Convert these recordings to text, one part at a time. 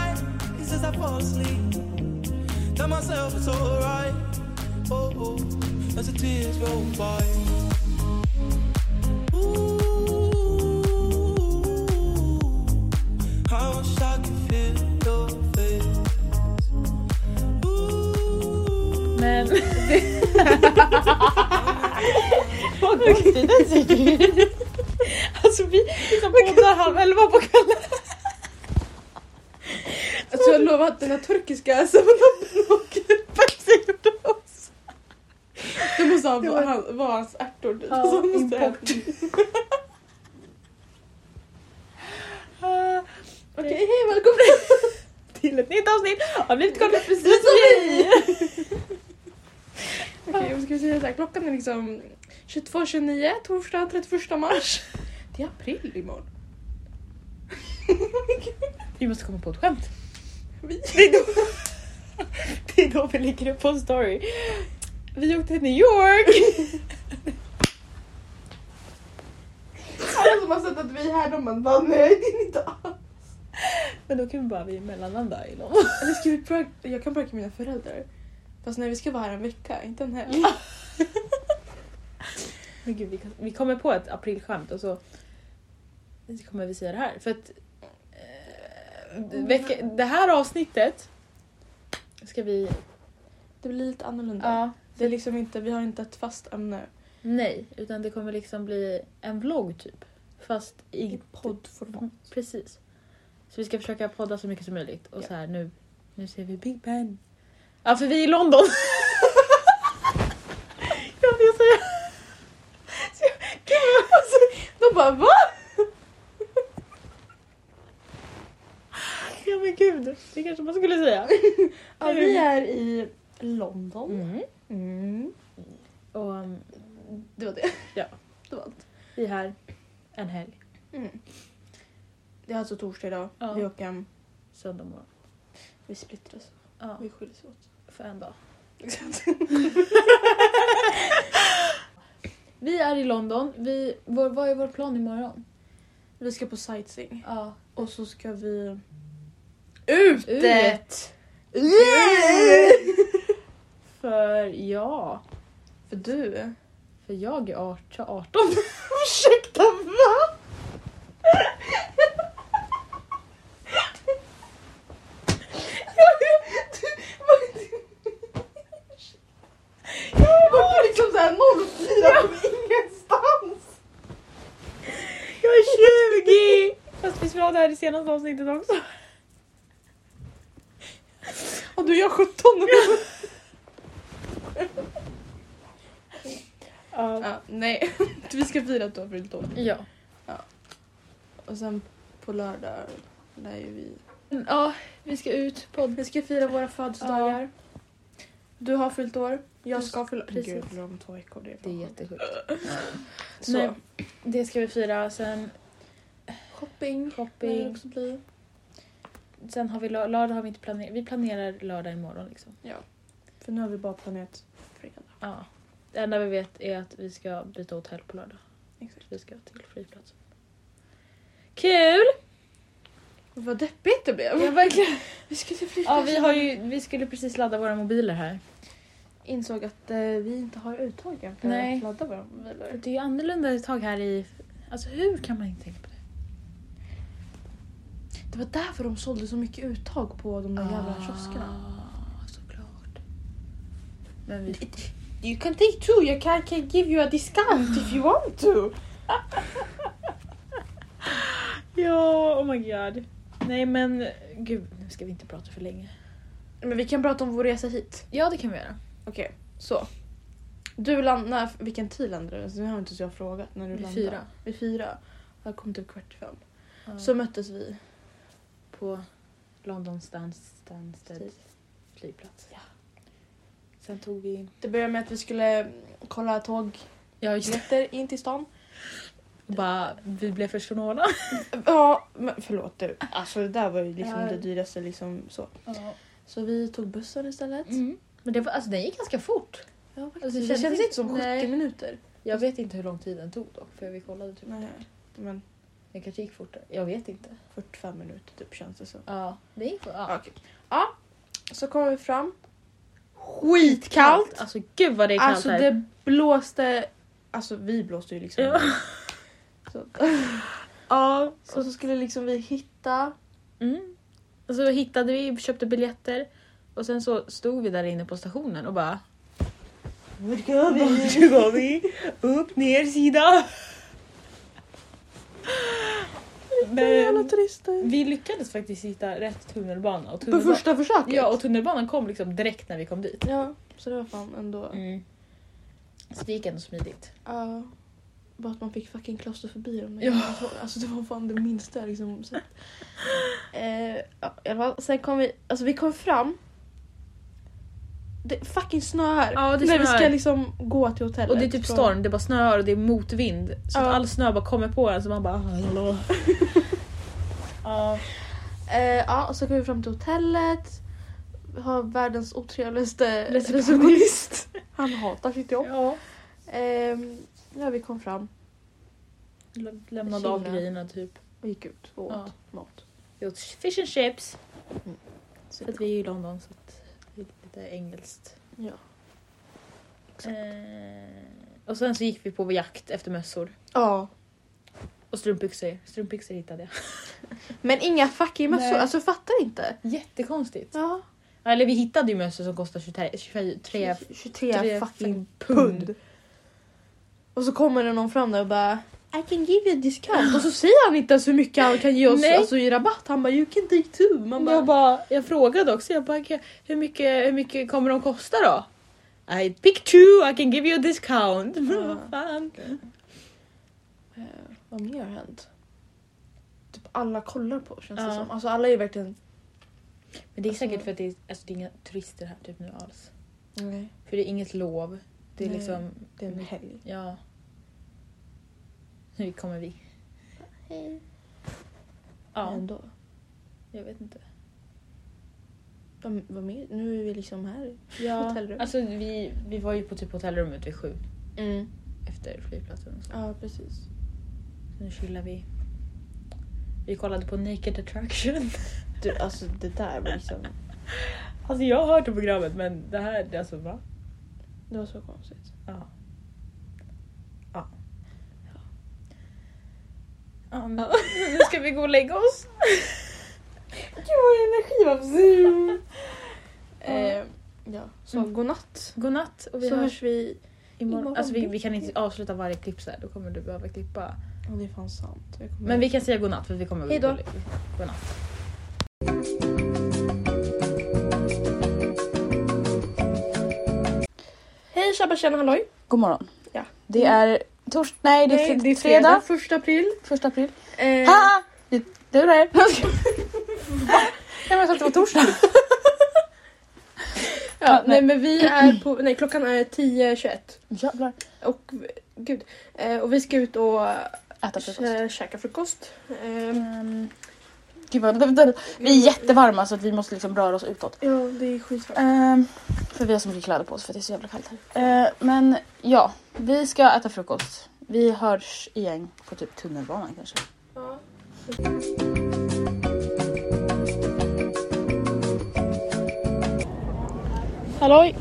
dreams as I fall asleep. Tell myself it's alright. Oh, oh, as the tears roll by. Ooh, I wish I could feel your face. Men Vad gulligt det tycker alltså vi liksom poddar halv elva på kvällen. Alltså jag lovar att den här turkiska seminargruppen säger det oss. Det måste ha Det var... var- han, var hans ärtor dit. Ja, Alltså, han måste ha- import. Ah, Okej, hej välkomna! Till ett nytt avsnitt av Livet kollar Det är precis som som vi! vi. Okej, jag ska säga såhär, klockan är liksom 22.29 torsdag 31 mars. Det är april imorgon. Vi måste komma på ett skämt. Vi- Det är då, det är då vi lägger upp på en story. Vi åkte till New York. Alla som har sett att vi är här de bara "Va, nej det är inte alls. Men då kan vi bara vi mellanlanda i dem. Eller ska vi prank- jag kan pranka mina föräldrar. Fast nej vi ska vara här en vecka, inte en helg. Men gud, vi, kan- vi kommer på ett aprilskämt och så kommer vi säga det här. För att eh, vecka, det här avsnittet ska vi... Det blir lite annorlunda. Ja. Det är liksom inte, vi har inte ett fast ämne. Nej, utan det kommer liksom bli en vlogg typ. Fast i, I poddformat. Precis. Så vi ska försöka podda så mycket som möjligt. Och Ja. så här nu, nu ser vi Big Ben. Ja, för vi är i London. ja, det är så jag... Så jag gud, alltså, De bara va? ja men gud, det kanske man skulle säga. Ja, vi är i London. Mm. Mm. Och um, Det var det. Ja. Det var allt. vi är här en helg, Mm. Det är alltså torsdag idag. Ja. Vi åker hem. söndag morgon. Vi splittras. Ja, Vi skiljs åt. för en dag. Exakt. Vi är i London. Vi, vår, vad är vår plan imorgon? vi ska på sightseeing. Ja. Och så ska vi... Ut! Ut! Yeah! För ja, För du... för jag är 18. 18. Ursäkta, va? Jag var liksom såhär 04 från ingenstans. Jag är 20! Fast vi spelade det här i senaste avsnittet också. Och du, jag är 17 nu. Ja. Ja, nej, vi ska fira att du har fyllt år. Ja. Och sen på lördag lär ju vi... ja, vi ska ut på... Vi ska fira våra födelsedagar. Du har fyllt år, jag ska fylla... Precis. Gud, det är om två veckor. Det är, Det fan- är jättesjukt. Så. Nej, det ska vi fira. Sen Shopping. lär det shopping. också bli. Sen har vi lör- lördag har vi inte planerat. Vi planerar lördag imorgon liksom. För nu har vi bara planerat fredag. Ja. Det enda vi vet är att vi ska byta hotell på lördag. Exakt. Vi ska till flygplatsen. Kul! Vad deppigt det blev. Ja, verkligen. Vi skulle Ja, vi, har ju, vi skulle precis ladda våra mobiler här. insåg att eh, vi inte har uttagen för Nej. att ladda våra mobiler. Det är ju annorlunda ett tag här i... Alltså hur kan man inte tänka på det? Det var därför de sålde så mycket uttag på de där jävla kioskerna. Ah, Såklart. Men vi... You can take two, I can, can give you a discount if you want to. Ja, oh my god. Nej men gud, nu ska vi inte prata för länge. Men vi kan prata om vår resa hit. Ja, det kan vi göra. Okej, så. Du landar, vilken tid landade du? Nu har inte så jag frågat när du Vid landade. fyra. Vid fyra. Jag kom typ kvart i fem. Så Så möttes vi. på London Stan- Stansted flygplats. Ja. Sen tog vi... Det började med att vi skulle mm, kolla tågbiljetter Ja, just det. in till stan. Bara, vi blev först förvånade. Ja, men förlåt du. Alltså det där var ju liksom Ja. det dyraste liksom så. Ja. Så vi tog bussen istället. Mm. Men det var, alltså, den gick ganska fort. Ja, faktiskt. Alltså, det det kändes kändes inte som 70 inte- nej. minuter. Jag vet inte hur lång tid den tog dock, för vi kollade typ. Nej, men Jag kanske gick fortare. Jag vet inte. 45 minuter typ känns det som. Ja, det gick fort. Ja. Ja, okej. ja. Så kommer vi fram. Skitkallt! Alltså gud vad det är kallt Alltså här. det blåste... Alltså vi blåste ju liksom. Ja. Så. Ja, så, så skulle liksom vi hitta... Mm. Och så hittade vi, köpte biljetter och sen så stod vi där inne på stationen och bara... Vart ska vi? ska vi? Upp, ner, sida! Jävla Men turister. vi lyckades faktiskt hitta rätt tunnelbana. Och På tunnelba- första försöket? Ja, och tunnelbanan kom liksom direkt när vi kom dit. ja, så det var fan ändå... Mm. Så det gick ändå smidigt. Ja. bara att man fick fucking klaustrofobi. om det. Ja. Alltså det var fan det minsta jag liksom sett. Eh, ja, i alla fall. Sen kom vi, alltså vi kom fram. Det fucking snöar. Ja, det när vi snöar. ska liksom gå till hotellet. Och det är typ från- storm, det bara snöar och det är motvind. Så Ja. att all snö bara kommer på en så man bara... ja. Eh, ja, och så kom vi fram till hotellet. Vi har världens otrevligaste Receptionist. receptionist. Han hatar sitt jobb. ja. Ehm, ja, vi kom fram Lä- Lämnade av Chilla. grejerna typ. och gick ut och åt Ja. mat. Vi åt fish and chips. Mm. För att vi är i London så att det är lite engelskt. Ja. Exakt. Eh, och sen så gick vi på jakt efter mössor. Ja. Och strumpbyxor. Strumpbyxor hittade jag. Men inga fucking mössor, Nej. alltså fattar inte. Jättekonstigt. Ja. Ja, Eller vi hittade ju mössor som kostar 23, 23 23 fucking pund. pund. Och så kommer det någon fram där och bara I can give you a discount. Och så säger han inte ens hur mycket han kan ge oss Nej. alltså, i rabatt. Han bara you can take two. Man bara, jag, bara, jag frågade också, jag bara, "Okej, hur, mycket, hur mycket kommer de kosta då? I pick two, I can give you a discount. Vad fan. Eh, vad mer har hänt? Typ alla kollar på känns det Ja. som. Alltså alla är verkligen... Men det är säkert Alltså- för att det är, alltså, det är inga turister här typ nu alls. Nej. För det är inget lov. Det är Nej. liksom, Det är en helg. ja. Nu kommer vi. Hej. Ja, Ja. Ändå. jag vet inte. Vad, vad mer? Nu är vi liksom här. Ja, Hotellrum. alltså vi, vi var ju på typ hotellrummet vid sju Mm. efter flygplatsen. och Så. Ja precis. Så nu chillar vi. Vi kollade på Naked Attraction. Du, alltså det där var liksom... Alltså jag har hört det programmet men det här, det är alltså va? Det var så konstigt. Ja. Ja. Ja, nu nu ska vi gå och lägga oss. Gud vad energiabsur! Eh, eh, ja. Så Mm. godnatt. Godnatt och vi så hörs, hörs vi... imorgon. imorgon Alltså vi, vi bitti. kan inte avsluta varje klipp så här. då kommer du behöva klippa. Ja det är fan sant. Jag kommer- Men vi kan säga godnatt för vi kommer Hej då. Godnatt. Hej tjabba tjena halloj! God morgon. Ja. Det är tors... Mm. Nej, det är, fri- fredag. Första april. Första april. Eh, Ha! Vi lurar er. Va? Nej, men jag sa att det var torsdag. ja, nej nej. men vi är på... Nej klockan är 10.21. Jävlar. Och gud. Eh, och vi ska ut och Äta frukost. kä- käka frukost. Eh, Ehm, Gud vad... det- det- Vi är jättevarma så att vi måste liksom röra oss utåt. ja, det är skitvarmt. Ehm, för vi har så mycket kläder på oss för det är så jävla kallt här. Ehm, men ja, vi ska äta frukost. Vi hörs igen på typ tunnelbanan kanske. Ja. Halloj!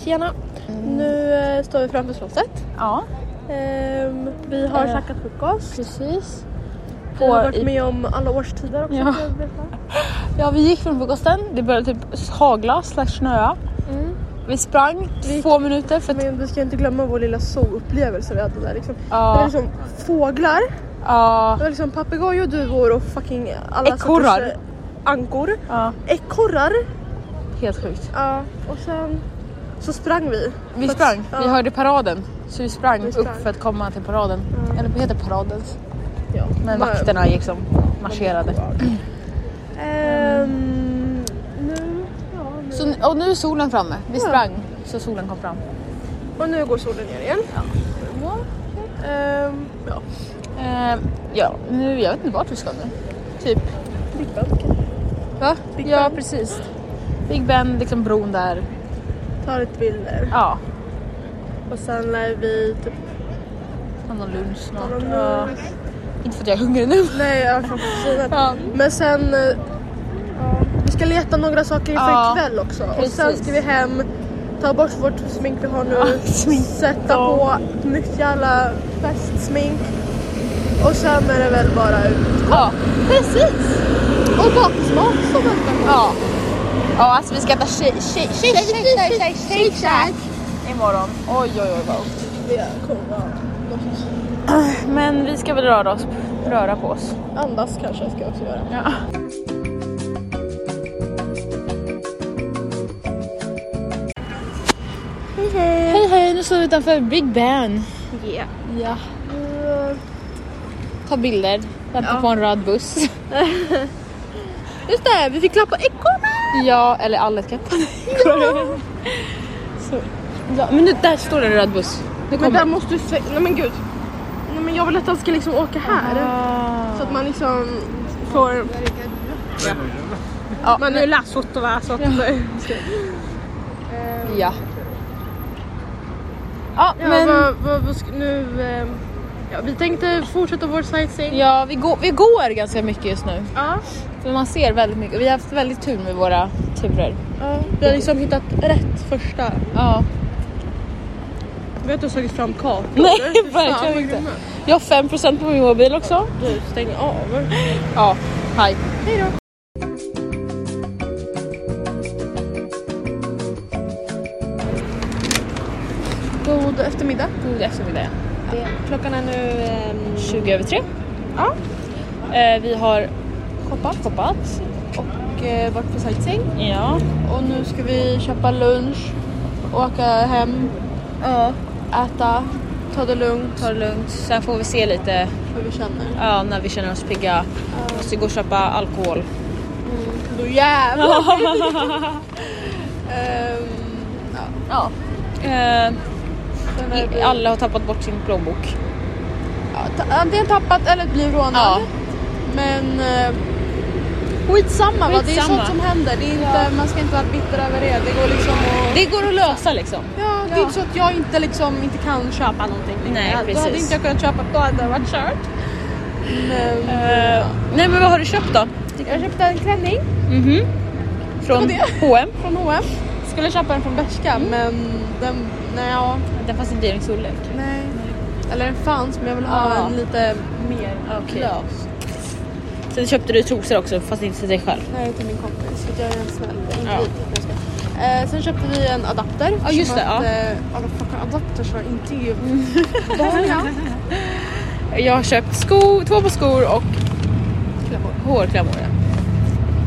Tjena! Nu eh, står vi framför slottet. Ja, Ehm, vi har Eh, käkat frukost. precis. Vi har på- varit med om alla årstider också. Ja. kan jag berätta. Ja, vi gick från frukosten. Det började typ hagla slash snöa. Mm. Vi sprang Vi- två minuter för att... Men du ska inte glömma vår lilla zoo-upplevelse vi hade där. Liksom. Det var Ja, liksom fåglar, ja, det var liksom papegojor, duvor och fucking alla Ekorrar. sorters, eh, ankor. ja. Ekorrar. Helt sjukt. Ja, och sen så sprang vi. Vi Fast- sprang. ja. Vi hörde paraden. Så vi sprang, Vi sprang. upp för att komma till paraden. Ja. Eller vad heter paraden? Ja. Men Bara- vakterna liksom marscherade. Ehm, nu, ja, nu. Så, n- och nu är solen framme. Vi Ja. sprang så solen kom fram. Och nu går solen ner igen. Ehm, ja. Eh, ja, nu, jag vet inte vart vi ska nu. Typ. Big Bang. okej. Va? Big ja, Ben. precis. Big Ben, liksom bron där. Tar lite bilder. Ja, Och sen lär vi typ har någon lunch ta snart. någon Ja. mus. Inte för att jag är hungrig nu. Nej, jag har framför Ja. Men sen... eh, Vi ska leta några saker inför Ja, ikväll också. Och sen precis. ska vi hem, ta bort vårt smink vi har nu, smink. sätta på ett nytt jävla festsmink. Och sen är det väl bara ut. Ja, precis. Och bakismat som väntar på Ja. Ja, alltså vi ska äta shake, shake, shake, shake, shake, shake, shack imorgon. Oj, oj, oj vad gott. det. Kommer vara- Men vi ska väl röra oss, röra på oss. Andas kanske jag ska också göra. Hej, hej, nu står vi utanför Big Ben. Yeah. Ja. Ta bilder, vänta på en röd buss. Just det, vi fick klappa ekorren! Ja, eller Allet kan ta det. Så. Ja, men nu, där står det en röd buss. Nu Men kommer där måste du... svä- Nej men gud. Nej men jag vill att han ska liksom åka här. Så att man liksom får... Ja, Man är lassottava så att... Ja. Ja, Ja, men vad, vad, vad ska, nu... ehm, eh, Ja, vi tänkte fortsätta vår sightseeing. ja, vi, går, vi går ganska mycket just nu. Ja. Men man ser väldigt mycket. Vi har haft väldigt tur med våra turer. Vi har liksom hittat rätt första. Ja. Vi har inte sökt fram kartor. Nej, Fy fan, verkligen vad inte. grymma. Jag har 5% på min mobil också. Du, stäng av. Ja, hej. Hejdå. God eftermiddag. God eftermiddag. Klockan är nu... ehm, 20 över 3. Ja. Eh, vi har shoppat. shoppat. och eh, varit på sightseeing. Ja. Och nu ska vi köpa lunch, åka hem, ja. äta, ta det lugnt, Ta det lugnt. Sen får vi se lite hur vi känner. ja, när vi känner oss pigga. Måste gå och köpa alkohol. Då jävlar! Ehm, ja, Ja. Eh, den här blir- alla har tappat bort sin plånbok. ja, ta- antingen tappat eller blir rånad. Ja. Men eh, skitsamma, va? det är Skitsamma. sånt som händer. Det är inte, Man ska inte vara bitter över det. Det går liksom att... Det går att lösa liksom. Ja, det är inte så att jag inte, liksom, inte kan köpa någonting. Nej, Ja, Då hade precis. inte jag kunnat köpa, då hade det varit kört. Men, Eh, nej men vad har du köpt då? jag köpte en klänning. Mhm. Från Mm. Det var H&M. från H&M. Skulle köpa den från Bershka men den, nej, ja, Den fanns inte i din storlek. nej. Eller den fanns men jag vill ha Ja. en lite mer Ah, Okej. lös. Sen köpte du trosor också fast inte till dig själv. Nej till min kompis för att jag är en snäll. Jag är inte Ja. lite, jag ska. Eh, sen köpte vi en adapter. Ja, just som det, Att, ja. Mm. eh, alla fucking adapters var inte ju vanliga. Jag har köpt sko, två par skor och Klämmor. hårklämmor. ja.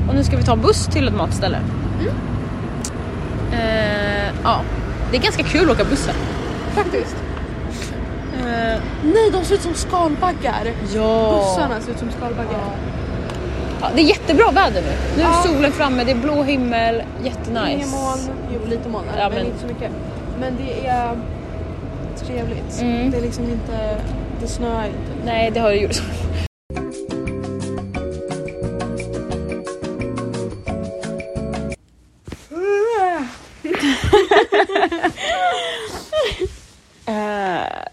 Och nu ska vi ta en buss till ett matställe. Eh, ja. Det är ganska kul att åka bussen. Faktiskt. Eh, Nej de ser ut som skalbaggar. ja. Bussarna ser ut som skalbaggar. Ja, det är jättebra väder nu. Nu är Ja. solen framme, det är blå himmel, Inga jättenice. moln. Jo lite moln är det, Ja, men, men- inte så mycket. Men det är trevligt. Mm. Det är liksom inte, det snöar inte. Nej, det har det gjort. Eh,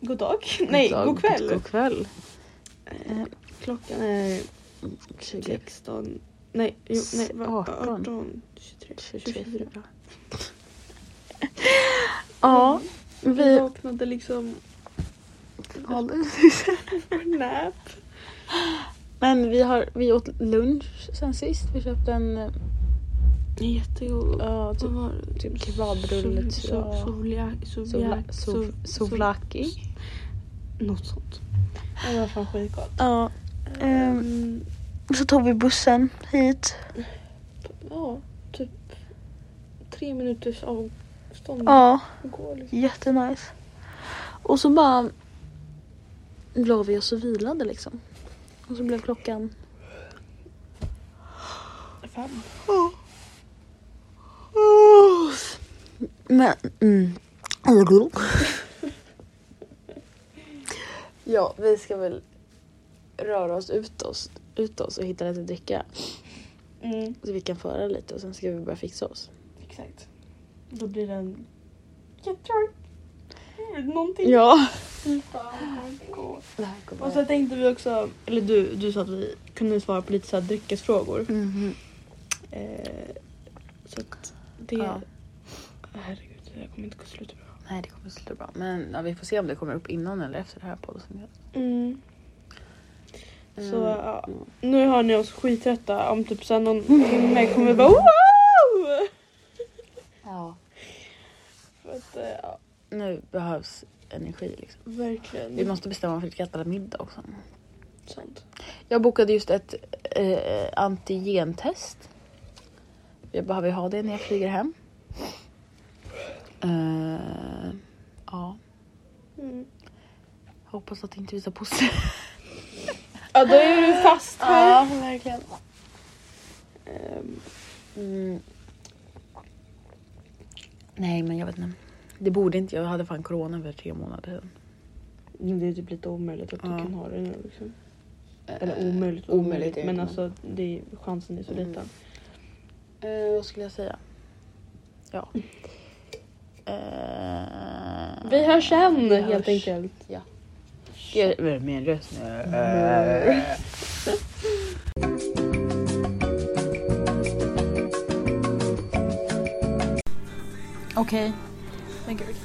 God dag. Nej, god, kväll. kväll. Klockan är 16... Nej, jo, nej, vad- 18. 18, 23, 24. 24. Ja, Vi Mm. vi... vaknade liksom nap. Men vi, har, vi åt lunch sen sist. Vi köpte en eh, Jättegod. ja, typ, Vad var det? typ kebabrulle. Sol- typ, sol- ja. Solia- Sovla- sovia- sov- sov- sov- Souvlaki. Något sånt. Det var fan skitgott. Ja. ehm, så tog vi bussen hit. Ja, typ tre minuters avstånd. Ja, Går liksom. jättenice. Och så bara la vi oss och vilade liksom. Och så blev klockan... Fem. Men... Mm. ja, vi ska väl röra oss ut oss, ut oss och hitta lite att dricka. Mm, Så vi kan föra lite och sen ska vi börja fixa oss. exakt. Då blir det en... Jag tror... Mm, Någonting. Ja. Fy fan, det kommer gå. Det här går Och så tänkte vi också, eller du, du sa att vi kunde svara på lite så här dryckesfrågor. Mhm. Eh, så att det... Ja. Herregud, det här kommer inte gå slut bra. Nej, det kommer sluta bra. Men ja, vi får se om det kommer upp innan eller efter det här podden. Mm. Så Mm. ja, nu har ni oss skittrötta. Om typ sen någon timme kommer vi bara wow! Ja. För att, eh, ja, Nu behövs energi liksom. verkligen. Vi måste bestämma för att vi ska äta middag också. sånt. Jag bokade just ett eh, antigentest. Jag behöver ha det när jag flyger hem. Eh, ja, Mm. hoppas att det inte visar positivt. Ja, då är du fast här. verkligen. Ehm, Mm. Nej, men jag vet inte. Det borde inte. Jag hade fan corona för tre månader sedan. det är typ lite omöjligt att Ja. du Eh, kan ha det nu liksom. Eller omöjligt och omöjligt omöjligt. är det Men inte. alltså det är, chansen är så Mm. liten. Eh, vad skulle jag säga? Ja. Eh, Vi hörs sen vi helt hörs. enkelt. Jag är med en röst nu. Eh. Okej. Men gud.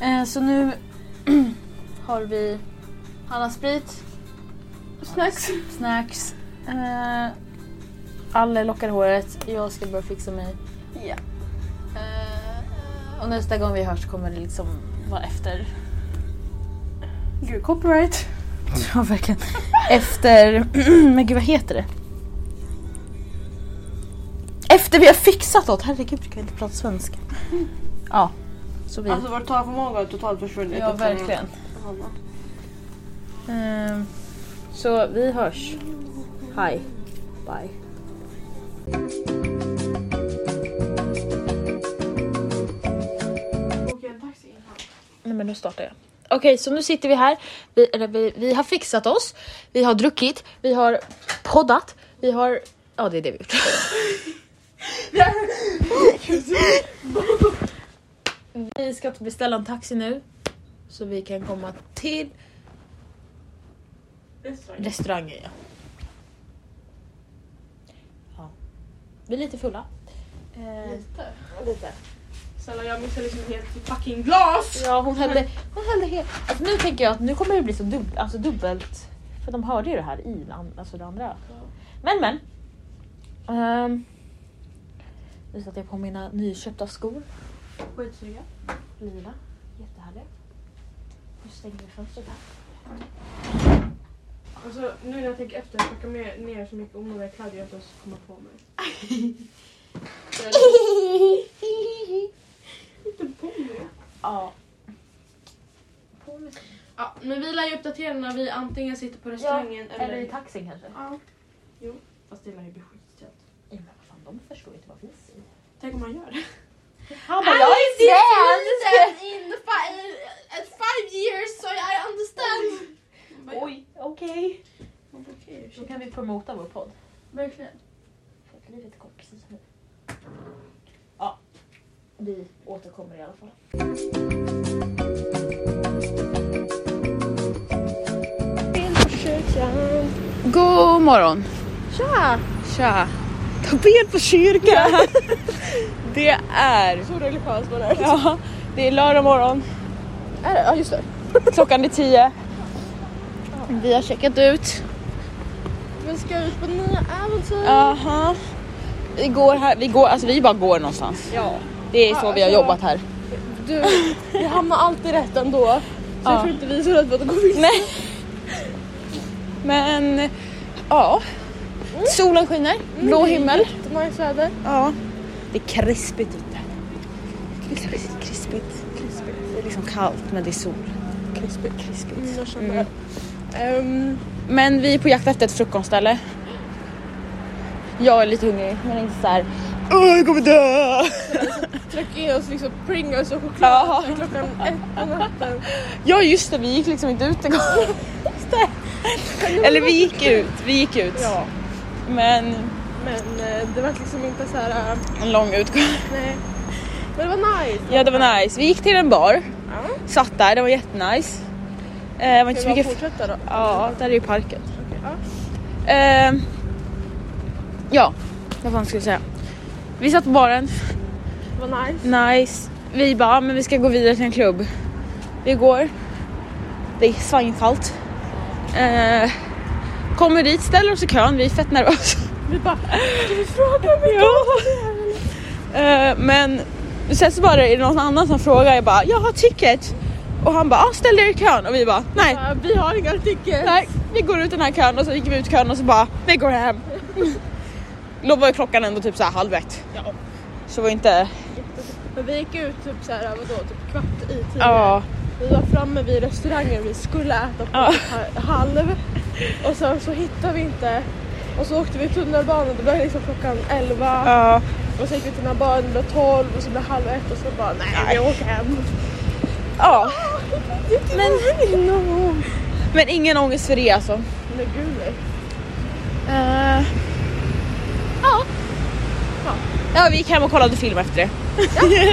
Eh, så nu har vi alla sprit, Snacks. snacks. Eh, alla lockar håret. Jag ska börja fixa mig. Ja. Eh, och nästa gång vi hörs kommer det liksom vara efter. Gud, copyright. Ja, verkligen. Efter... Men gud, vad heter det? Efter vi har fixat något. Herregud, kan jag inte prata svenska? Ja, så vi... Alltså vårt talförmåga har totalt försvunnit. Alltså, ja, verkligen. Ehm, så vi hörs. Hej. Bye. Nej men nu startar jag. Okej så nu sitter vi här. Vi, eller vi, vi har fixat oss. Vi har druckit. Vi har poddat. Vi har... Ja det är det vi gjort. vi ska beställa en taxi nu. Så vi kan komma till restaurangen. Ja. ja. Vi är lite fulla. Eh, lite. Snälla jag missade liksom helt fucking glas! Ja, hon hällde, hon hällde helt... Alltså, nu tänker jag att nu kommer det bli så dubbelt, alltså dubbelt. För de hörde ju det här i land, alltså det andra. Men men. Ehm, nu satte jag på mina nyköpta skor. Skitsnygga. Lila. Jättehärliga. Nu stänger vi fönstret här. Alltså nu när jag tänker efter, jag packar med ner så mycket onödiga kläder jag inte ens kommer på mig. Inte på mig. ja. Ja, men vi lär ju uppdatera när vi antingen sitter på restaurangen eller... Eller i taxin kanske. Ja. Jo. Fast det lär ju bli skittrött. Ja, men vad fan, de förstår ju inte vad vi säger. Tänk om man gör det. Han bara, jag är alltså, svensk! in five, at five years so I understand. Oj, okej. Okej, Då kan vi promota vår podd. verkligen. För att livet går precis nu. Ja, vi återkommer i alla fall. God morgon! Tja! Tja! Ta ben på kyrkan! det är... Så religiöst var det. Ja, det är lördag morgon. Är det? Ja, just det. Klockan är tio. Vi har checkat ut. Vi ska ut på nya äventyr. Aha. Vi går här, vi går, alltså vi bara går någonstans. Ja. Det är så vi har alltså- jobbat här. Du, vi hamnar alltid rätt ändå. Så Ja. jag tror inte vi är så rädda för att gå vilse. Nej. Men ja. Solen skiner, blå himmel. Jättenice väder. Ja. Det är krispigt ute. Krispigt, krispigt. Det är liksom kallt men det är sol. Krispigt, krispigt. Mm, jag känner det. Ehm, Men vi är på jakt efter ett frukostställe. Jag är lite hungrig men inte såhär Åh jag kommer dö! tryck i oss liksom Pringles och choklad Ja. klockan ett på natten. Ja just det, vi gick liksom inte ut en gång. Just det. Eller vi gick ut, vi gick ut. Ja, Men men eh, det var liksom inte så här. eh, en lång utgång. nej. Men det var nice. Ja det var nice. Vi gick till en bar, Ja. satt där, det var jättenice. Eh, det var inte så Ska vi bara mycket... fortsätta då? Ja, där är ju parken. Okej, ja. Ehm, ja, vad fan ska jag säga? Vi satt på baren, Det var nice. nice. Vi bara, "Ah, men vi ska gå vidare till en klubb. Vi går. Det är svinkallt. Eh, kommer dit, ställer oss i kön, vi är fett nervösa. Vi bara, ska vi fråga om vi Ja. Eh, men sen så bara är det någon annan som frågar, jag bara, jag har ticket. Och han bara, ah, ställ er i kön. Och vi bara, nej, Ja, Vi har inga tickets. nej, vi går ut den här kön. Och så gick vi ut kön och så bara, vi går hem. Då var ju klockan ändå typ så här halv ett. Så var inte, Men vi gick ut typ såhär, vadå, typ kvart i tio. ja. Vi var framme vid restaurangen vi skulle äta på Ja. ha- halv. Och sen så hittade vi inte. Och så åkte vi tunnelbanan, det blev liksom klockan 11. ja. Och så gick vi till den här baren, det blev 12 och så blev det halv ett och så bara nej, vi åker hem. ja. Men, men ingen ångest för det alltså. Men gud nej. Eh, ja. Ja, vi gick hem och kollade film efter det.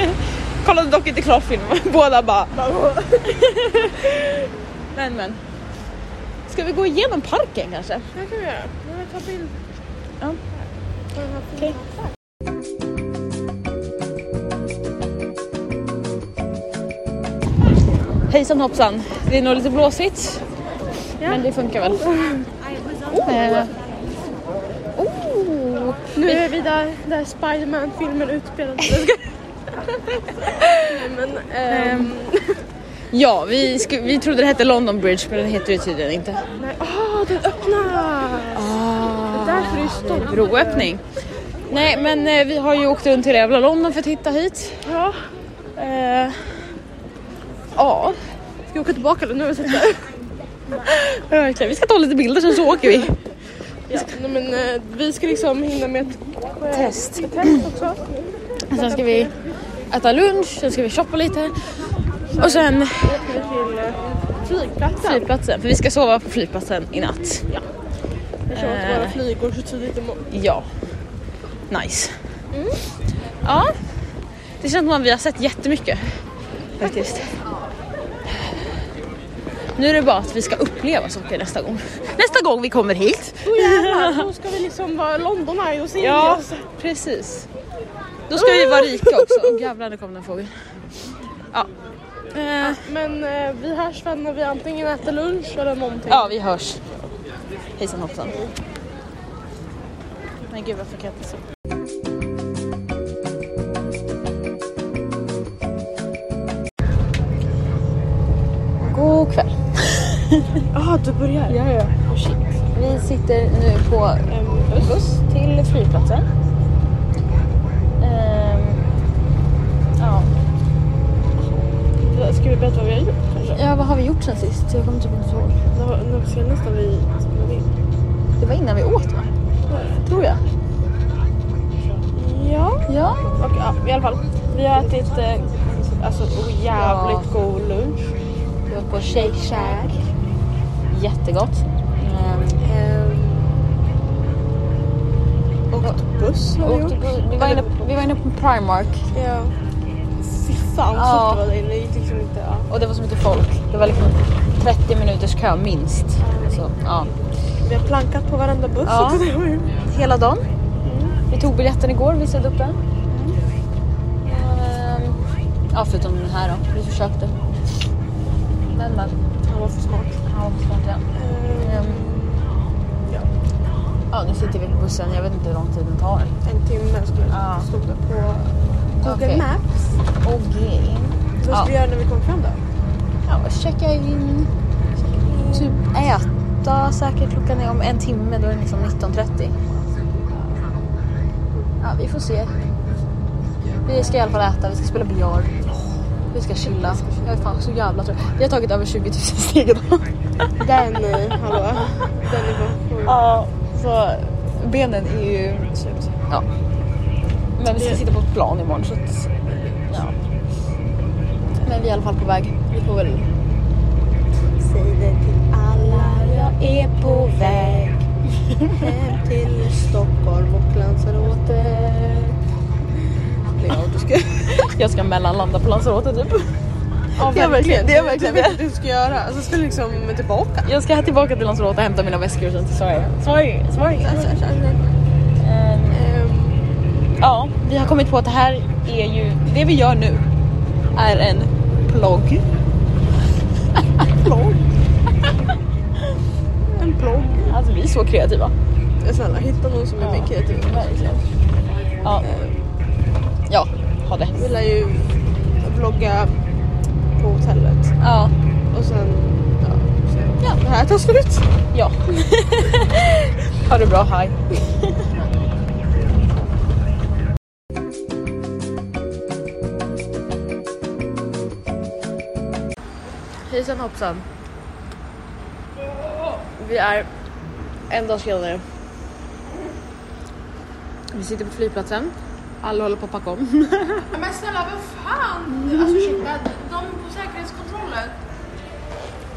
kollade dock inte klart film, båda bara Bara- Men men. Ska vi gå igenom parken kanske? Det här kan vi göra. Men vi tar bild. Ja. På den här Okej. filmen. Hejsan hoppsan. Det är nog lite blåsigt. Men det funkar väl. Eh, oh, Nu är vi där, där Spiderman-filmen utspelade sig. Nej, men, ehm, ja, vi, sku, vi trodde det hette London Bridge men det heter det tydligen inte. nej. Åh, den öppnar! Därför är det stolt. Ah. Broöppning. Nej men eh, vi har ju åkt runt hela jävla London för att hitta hit. Ja. Eh, ja, Ska vi åka tillbaka eller? Nu har vi sett det. verkligen. Vi ska ta lite bilder sen så åker vi. Ja. Nej, men, eh, vi ska liksom hinna med ett Test. test också. Sen ska vi äta lunch, sen ska vi shoppa lite. Och sen Vi till eh, flygplatsen. flygplatsen, för vi ska sova på flygplatsen i natt. Eh. Vi kör åt våra flygor så tidigt imorgon. Ja. Nice. Ja. Det känns som att vi har sett jättemycket. Faktiskt. Nu är det bara att vi ska uppleva saker nästa gång. Nästa gång vi kommer hit. Då jävlar, då ska vi liksom vara Londonare och se ja. oss. precis. Då ska vi vara rika också. Åh jävlar, nu kom den fågeln. Ja. Eh, Men eh, vi hörs väl när vi antingen äter lunch eller någonting. Ja, vi hörs. Hejsan hoppsan. Men gud varför kan jag inte se? God kväll. ah, du börjar. Ja, ja. Oh, Vi sitter nu på en buss till flygplatsen. Ehm, ja. Ska vi berätta vad vi har gjort kanske? ja, vad har vi gjort sen sist? Jag kommer typ inte ihåg. Det var nog senast när vi spelade in. Det var innan vi åt va? Tror jag. Ja. Ja. Och, ja, i alla fall. Vi har ätit eh, alltså, oh, jävligt god lunch. Vi var på Shake Shack. Jättegott. Ehm, Åkt buss har vi åkte gjort. på- vi, var inne, vi var inne på Primark Ja. Fy fan Ja. vad tufft det var där inne. Det gick liksom inte. Ja. och det var så mycket folk. Det var liksom 30 minuters kö minst. Så, ja. Vi har plankat på varenda buss Ja. också. Det var ju- Mm. Hela dagen. Vi tog biljetten igår, visade upp den. Ehm, ja, förutom den här då. Vi försökte. Men men. Han var för smart. Han var smart igen. Ehm, Ja. ja, nu sitter vi på bussen. Jag vet inte hur lång tid den tar. En timme skulle Ja. stod det på Google Okej. Maps. Okej. Vad ska Ja. vi göra när vi kommer fram då? Ja, checka in. Typ äta säkert. Klockan är om en timme. Då är det liksom 19.30. Ja, vi får se. Vi ska i alla fall äta. Vi ska spela biljard. Vi ska chilla. Jag är fan så jävla trött. Vi har tagit över 20 000 steg idag. Den, eh, hallå. Den är bara Ja, så benen är ju... Ja. Men vi ska sitta på ett plan imorgon så att... Ja. Men vi är i alla fall på väg. Vi får väl Säg det till alla, jag är på väg hem till Stockholm och glansar åter. Nej, ja, du ska... Jag ska mellanlanda på Lanzarote typ. det är verkligen det, är verkligen det du ska göra. Alltså ska du liksom tillbaka. Jag ska tillbaka till Lanzarote och hämta mina väskor och sen till Sverige. Sorry, sorry. Alltså, alltså, alltså. Ehm, Ehm, Mm. Ja, vi har kommit på att det här är ju, det vi gör nu är en plogg. en blogg. Alltså vi är så kreativa. Snälla hitta någon som är Ja. mer kreativ. Verkligen. Ja, Mm. Ehm, ja ha det. Vi lär ju vlogga på hotellet Ja, och sen ja, sen- Ja. det här tar slut. ja. ha det bra, hej. Hejsan hoppsan. Vi är en dag senare. Vi sitter på flygplatsen. Alla håller på att packa om. Men snälla, vad fan? Alltså ursäkta, de på säkerhetskontrollen.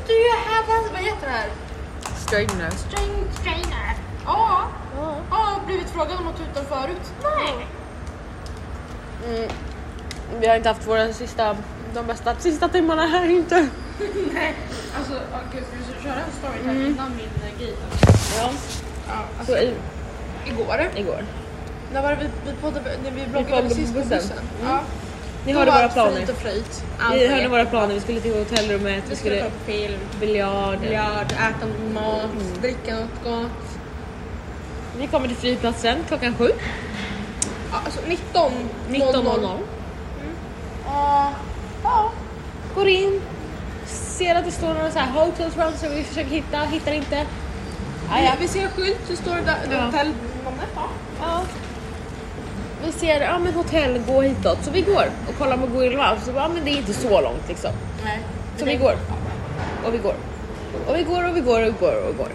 Do you have a... Vad heter det här? Straightener. String strainer? Ja. Ja, jag har blivit frågad om något utan förut. Nej. Mm. Vi har inte haft våra sista, de bästa sista timmarna här inte. Nej. Alltså, åh, gud, ska vi köra en story här innan min eh, grej? Mm. Ja. Ja, alltså, Så i, igår. igår. När var det vi, vi poddade? När vi bloggade på sist på bussen. bussen. Ja. Ni Då hörde var våra det planer. Flyt och flöjt. Ni hörde våra planer. Vi skulle till hotellrummet, vi Vi skulle skulle ta upp film, biljard. Mm. biljard, äta mat, dricka något gott. Vi kommer till flygplatsen klockan sju. Ja, Alltså 19. 19.00. Ja. Ja. Går in, ser att det står några så här hotels round som vi försöker hitta, hittar inte. Ja, ja. Vi ser en skylt, så står det där, Ja. hotellnamnet. Ja. Ja. Vi ser, ja men hotell, gå hitåt. Så vi går och kollar på Google Maps. Så bara, ja men det är inte så långt liksom. Nej. Så vi går. Och vi går. Och vi går och vi går och vi går och vi går.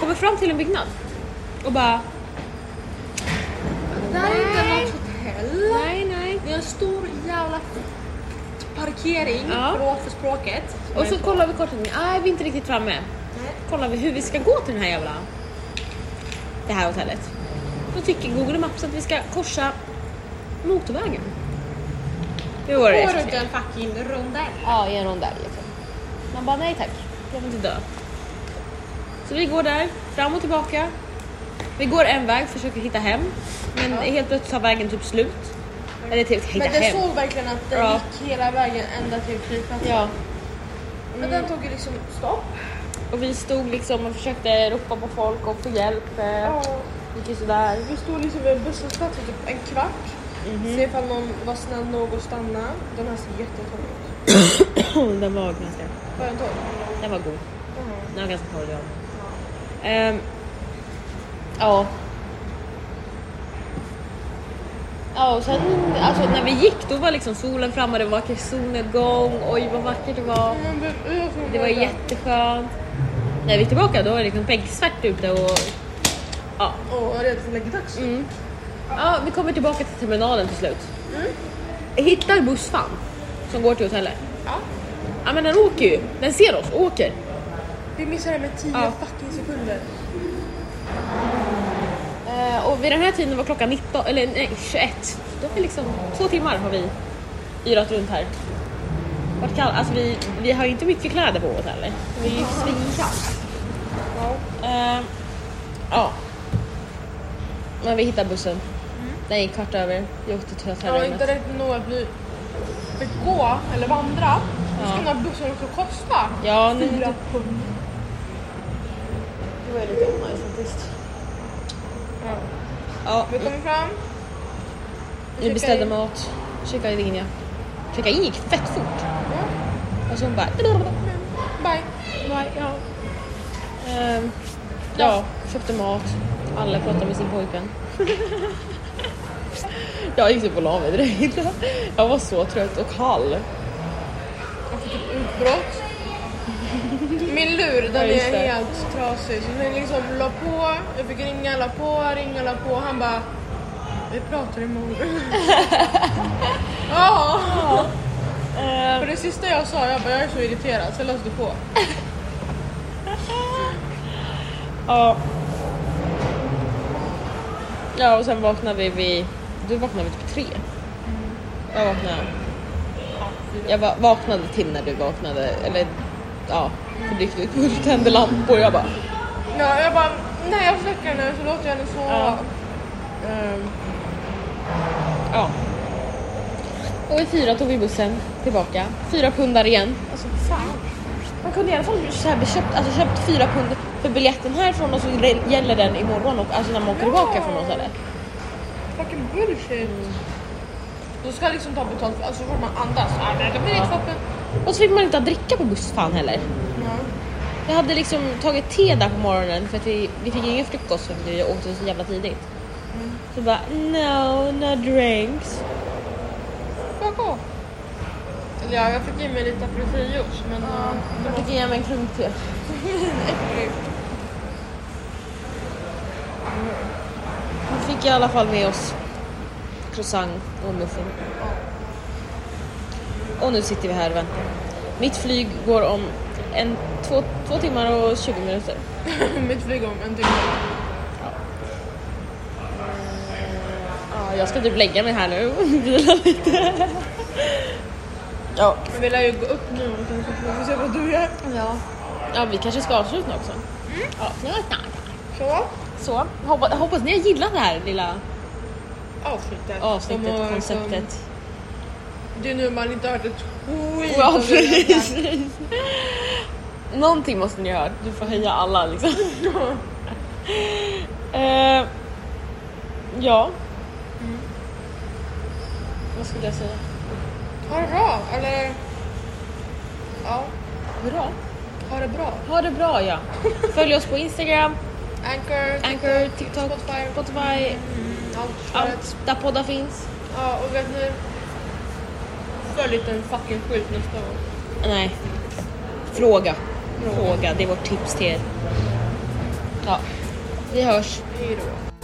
Kommer fram till en byggnad. Och bara, Det här är inte något hotell. nej nej. Det är en stor jävla parkering, Ja. förlåt för språket. Och så kollar vi kortet, nej vi är inte riktigt framme. Kollar vi hur vi ska gå till den här jävla... Det här hotellet. Då tycker Google Maps att vi ska korsa motorvägen. Hur går det? Går efter runt en fucking rondell. Ja, i en rondell. Liksom. Man bara nej tack, jag vill inte dö. Så vi går där, fram och tillbaka. Vi går en väg, försöker hitta hem. Men helt plötsligt tar vägen typ slut. Eller typ hitta Mm. Men det hem. såg verkligen att den Ja. gick hela vägen ända till flygplatsen. Ja, Mm. Men den tog ju liksom stopp. och vi stod liksom och försökte ropa på folk och få hjälp. eh, Gick ju sådär. Vi stod liksom vid en busshållplats i typ en kvart. Mhm. Se ifall någon var snäll nog att stanna. Den här ser jättetorr ut. Oh, Den var ganska, Var den torr? den var god. Den var ganska torr ja. Mm. Ehm, ja. Ja och sen alltså, när vi gick då var liksom solen framme, det var vacker solnedgång, oj vad vackert det var. Men det- Mm, Det var jätteskönt. När vi är tillbaka då är det liksom becksvart ute och ja. Åh, jag är rädd för läggdags. ja. Vi kommer tillbaka till terminalen till slut. Hittar bussfan som går till hotellet. Ja. Ja men den åker ju, den ser oss och åker. Vi missade det med 10 Ja. fucking sekunder. Eh, och vid den här tiden var klockan 19, eller nej, 21. Så Då har vi liksom, två timmar har vi yrat runt här. Vart kall, alltså vi, vi har ju inte mycket kläder på oss heller. Det är ju svinkallt. Eh, ja. Men vi hittade bussen. Den gick kvart över. Vi åkte till Jag var inte hotellrummet. rädd nog att vi fick gå eller vandra. Då ska den här bussen också kosta. Ja, nu, Fyra pund. det var ju lite onajs faktiskt. Ja, Vi kommer fram. vi beställde in. mat. Checkade in ja. Checkade in gick fett fort. Och så hon bara... Bye. Nej, ja. Ehm, ja, köpte mat. Alla pratade med sin pojkvän. jag gick typ och la mig direkt. Jag var så trött och kall. Brott. Min lur den Ja, är just det. helt trasig. Så den liksom la på, jag fick ringa, la på, ringa, la på. Han bara, vi pratar imorgon. ja. Eh, För det sista jag sa, jag bara, jag är så irriterad så jag löste på. Ja. Ja, och sen vaknade vi vid... Du vaknade vi typ tre. Jag vaknade. Jag va- vaknade till när du vaknade. Eller ja, för det gick ut och tände lampor och jag bara... Ja, jag bara, nej jag släcker nu så låter jag henne sova. Ja. ehm, ja. Och vid fyra tog vi bussen tillbaka. Fyra pundar igen. Alltså fan. Man kunde i alla fall så här köpt, alltså köpt fyra pund för biljetten härifrån och så re- gäller den imorgon och alltså när man åker tillbaka från Mm. något ställe. Fucking bullshit. Du ska liksom ta betalt för, alltså så fort man andas. Ah, nej, det blir inte ja. Och så fick man inte dricka på bussfan heller. Jag hade liksom tagit te där på morgonen för att vi, vi fick ingen frukost för att vi åkte så jävla tidigt. Mm. Så bara no, no drinks. Fuck off. Eller Ja, jag fick i mig lite apelsinjuice men ja. det var Fick ge mig en klunk te. äckligt. Vi fick i alla fall med oss croissant och muffin. Och nu sitter vi här och väntar. Mitt flyg går om en, två, två timmar och 20 minuter. Mitt flyg om en timme. Ja, jag ska typ lägga mig här nu och vila lite. Ja. Men vi lär ju gå upp nu och sen så får vi se vad du gör. Ja. ja, vi kanske ska avsluta också. Mm. Ja, det var snart. Så. Så, hoppas, hoppas ni har gillat det här lilla Avslutet. avsnittet, Som eh, har- konceptet. som- Det är nu man inte har hört ett skit. Ja, av det vi har sagt. precis. Någonting måste ni ha hört. Du får höja alla liksom. Eh, ja. Mm. Vad skulle jag säga? Ha det bra, eller... Ja, Bra. ha det bra. Ha det bra ja. Följ oss på Instagram, Anchor, Anchor, TikTok, Spotify, Mm, Spotify, allt. allt. allt där poddar finns. Ja, och vet ni? Följ inte en fucking skylt nästa gång. Nej. Fråga. Fråga. Det är vårt tips till er. Ja. Vi hörs. Hej då.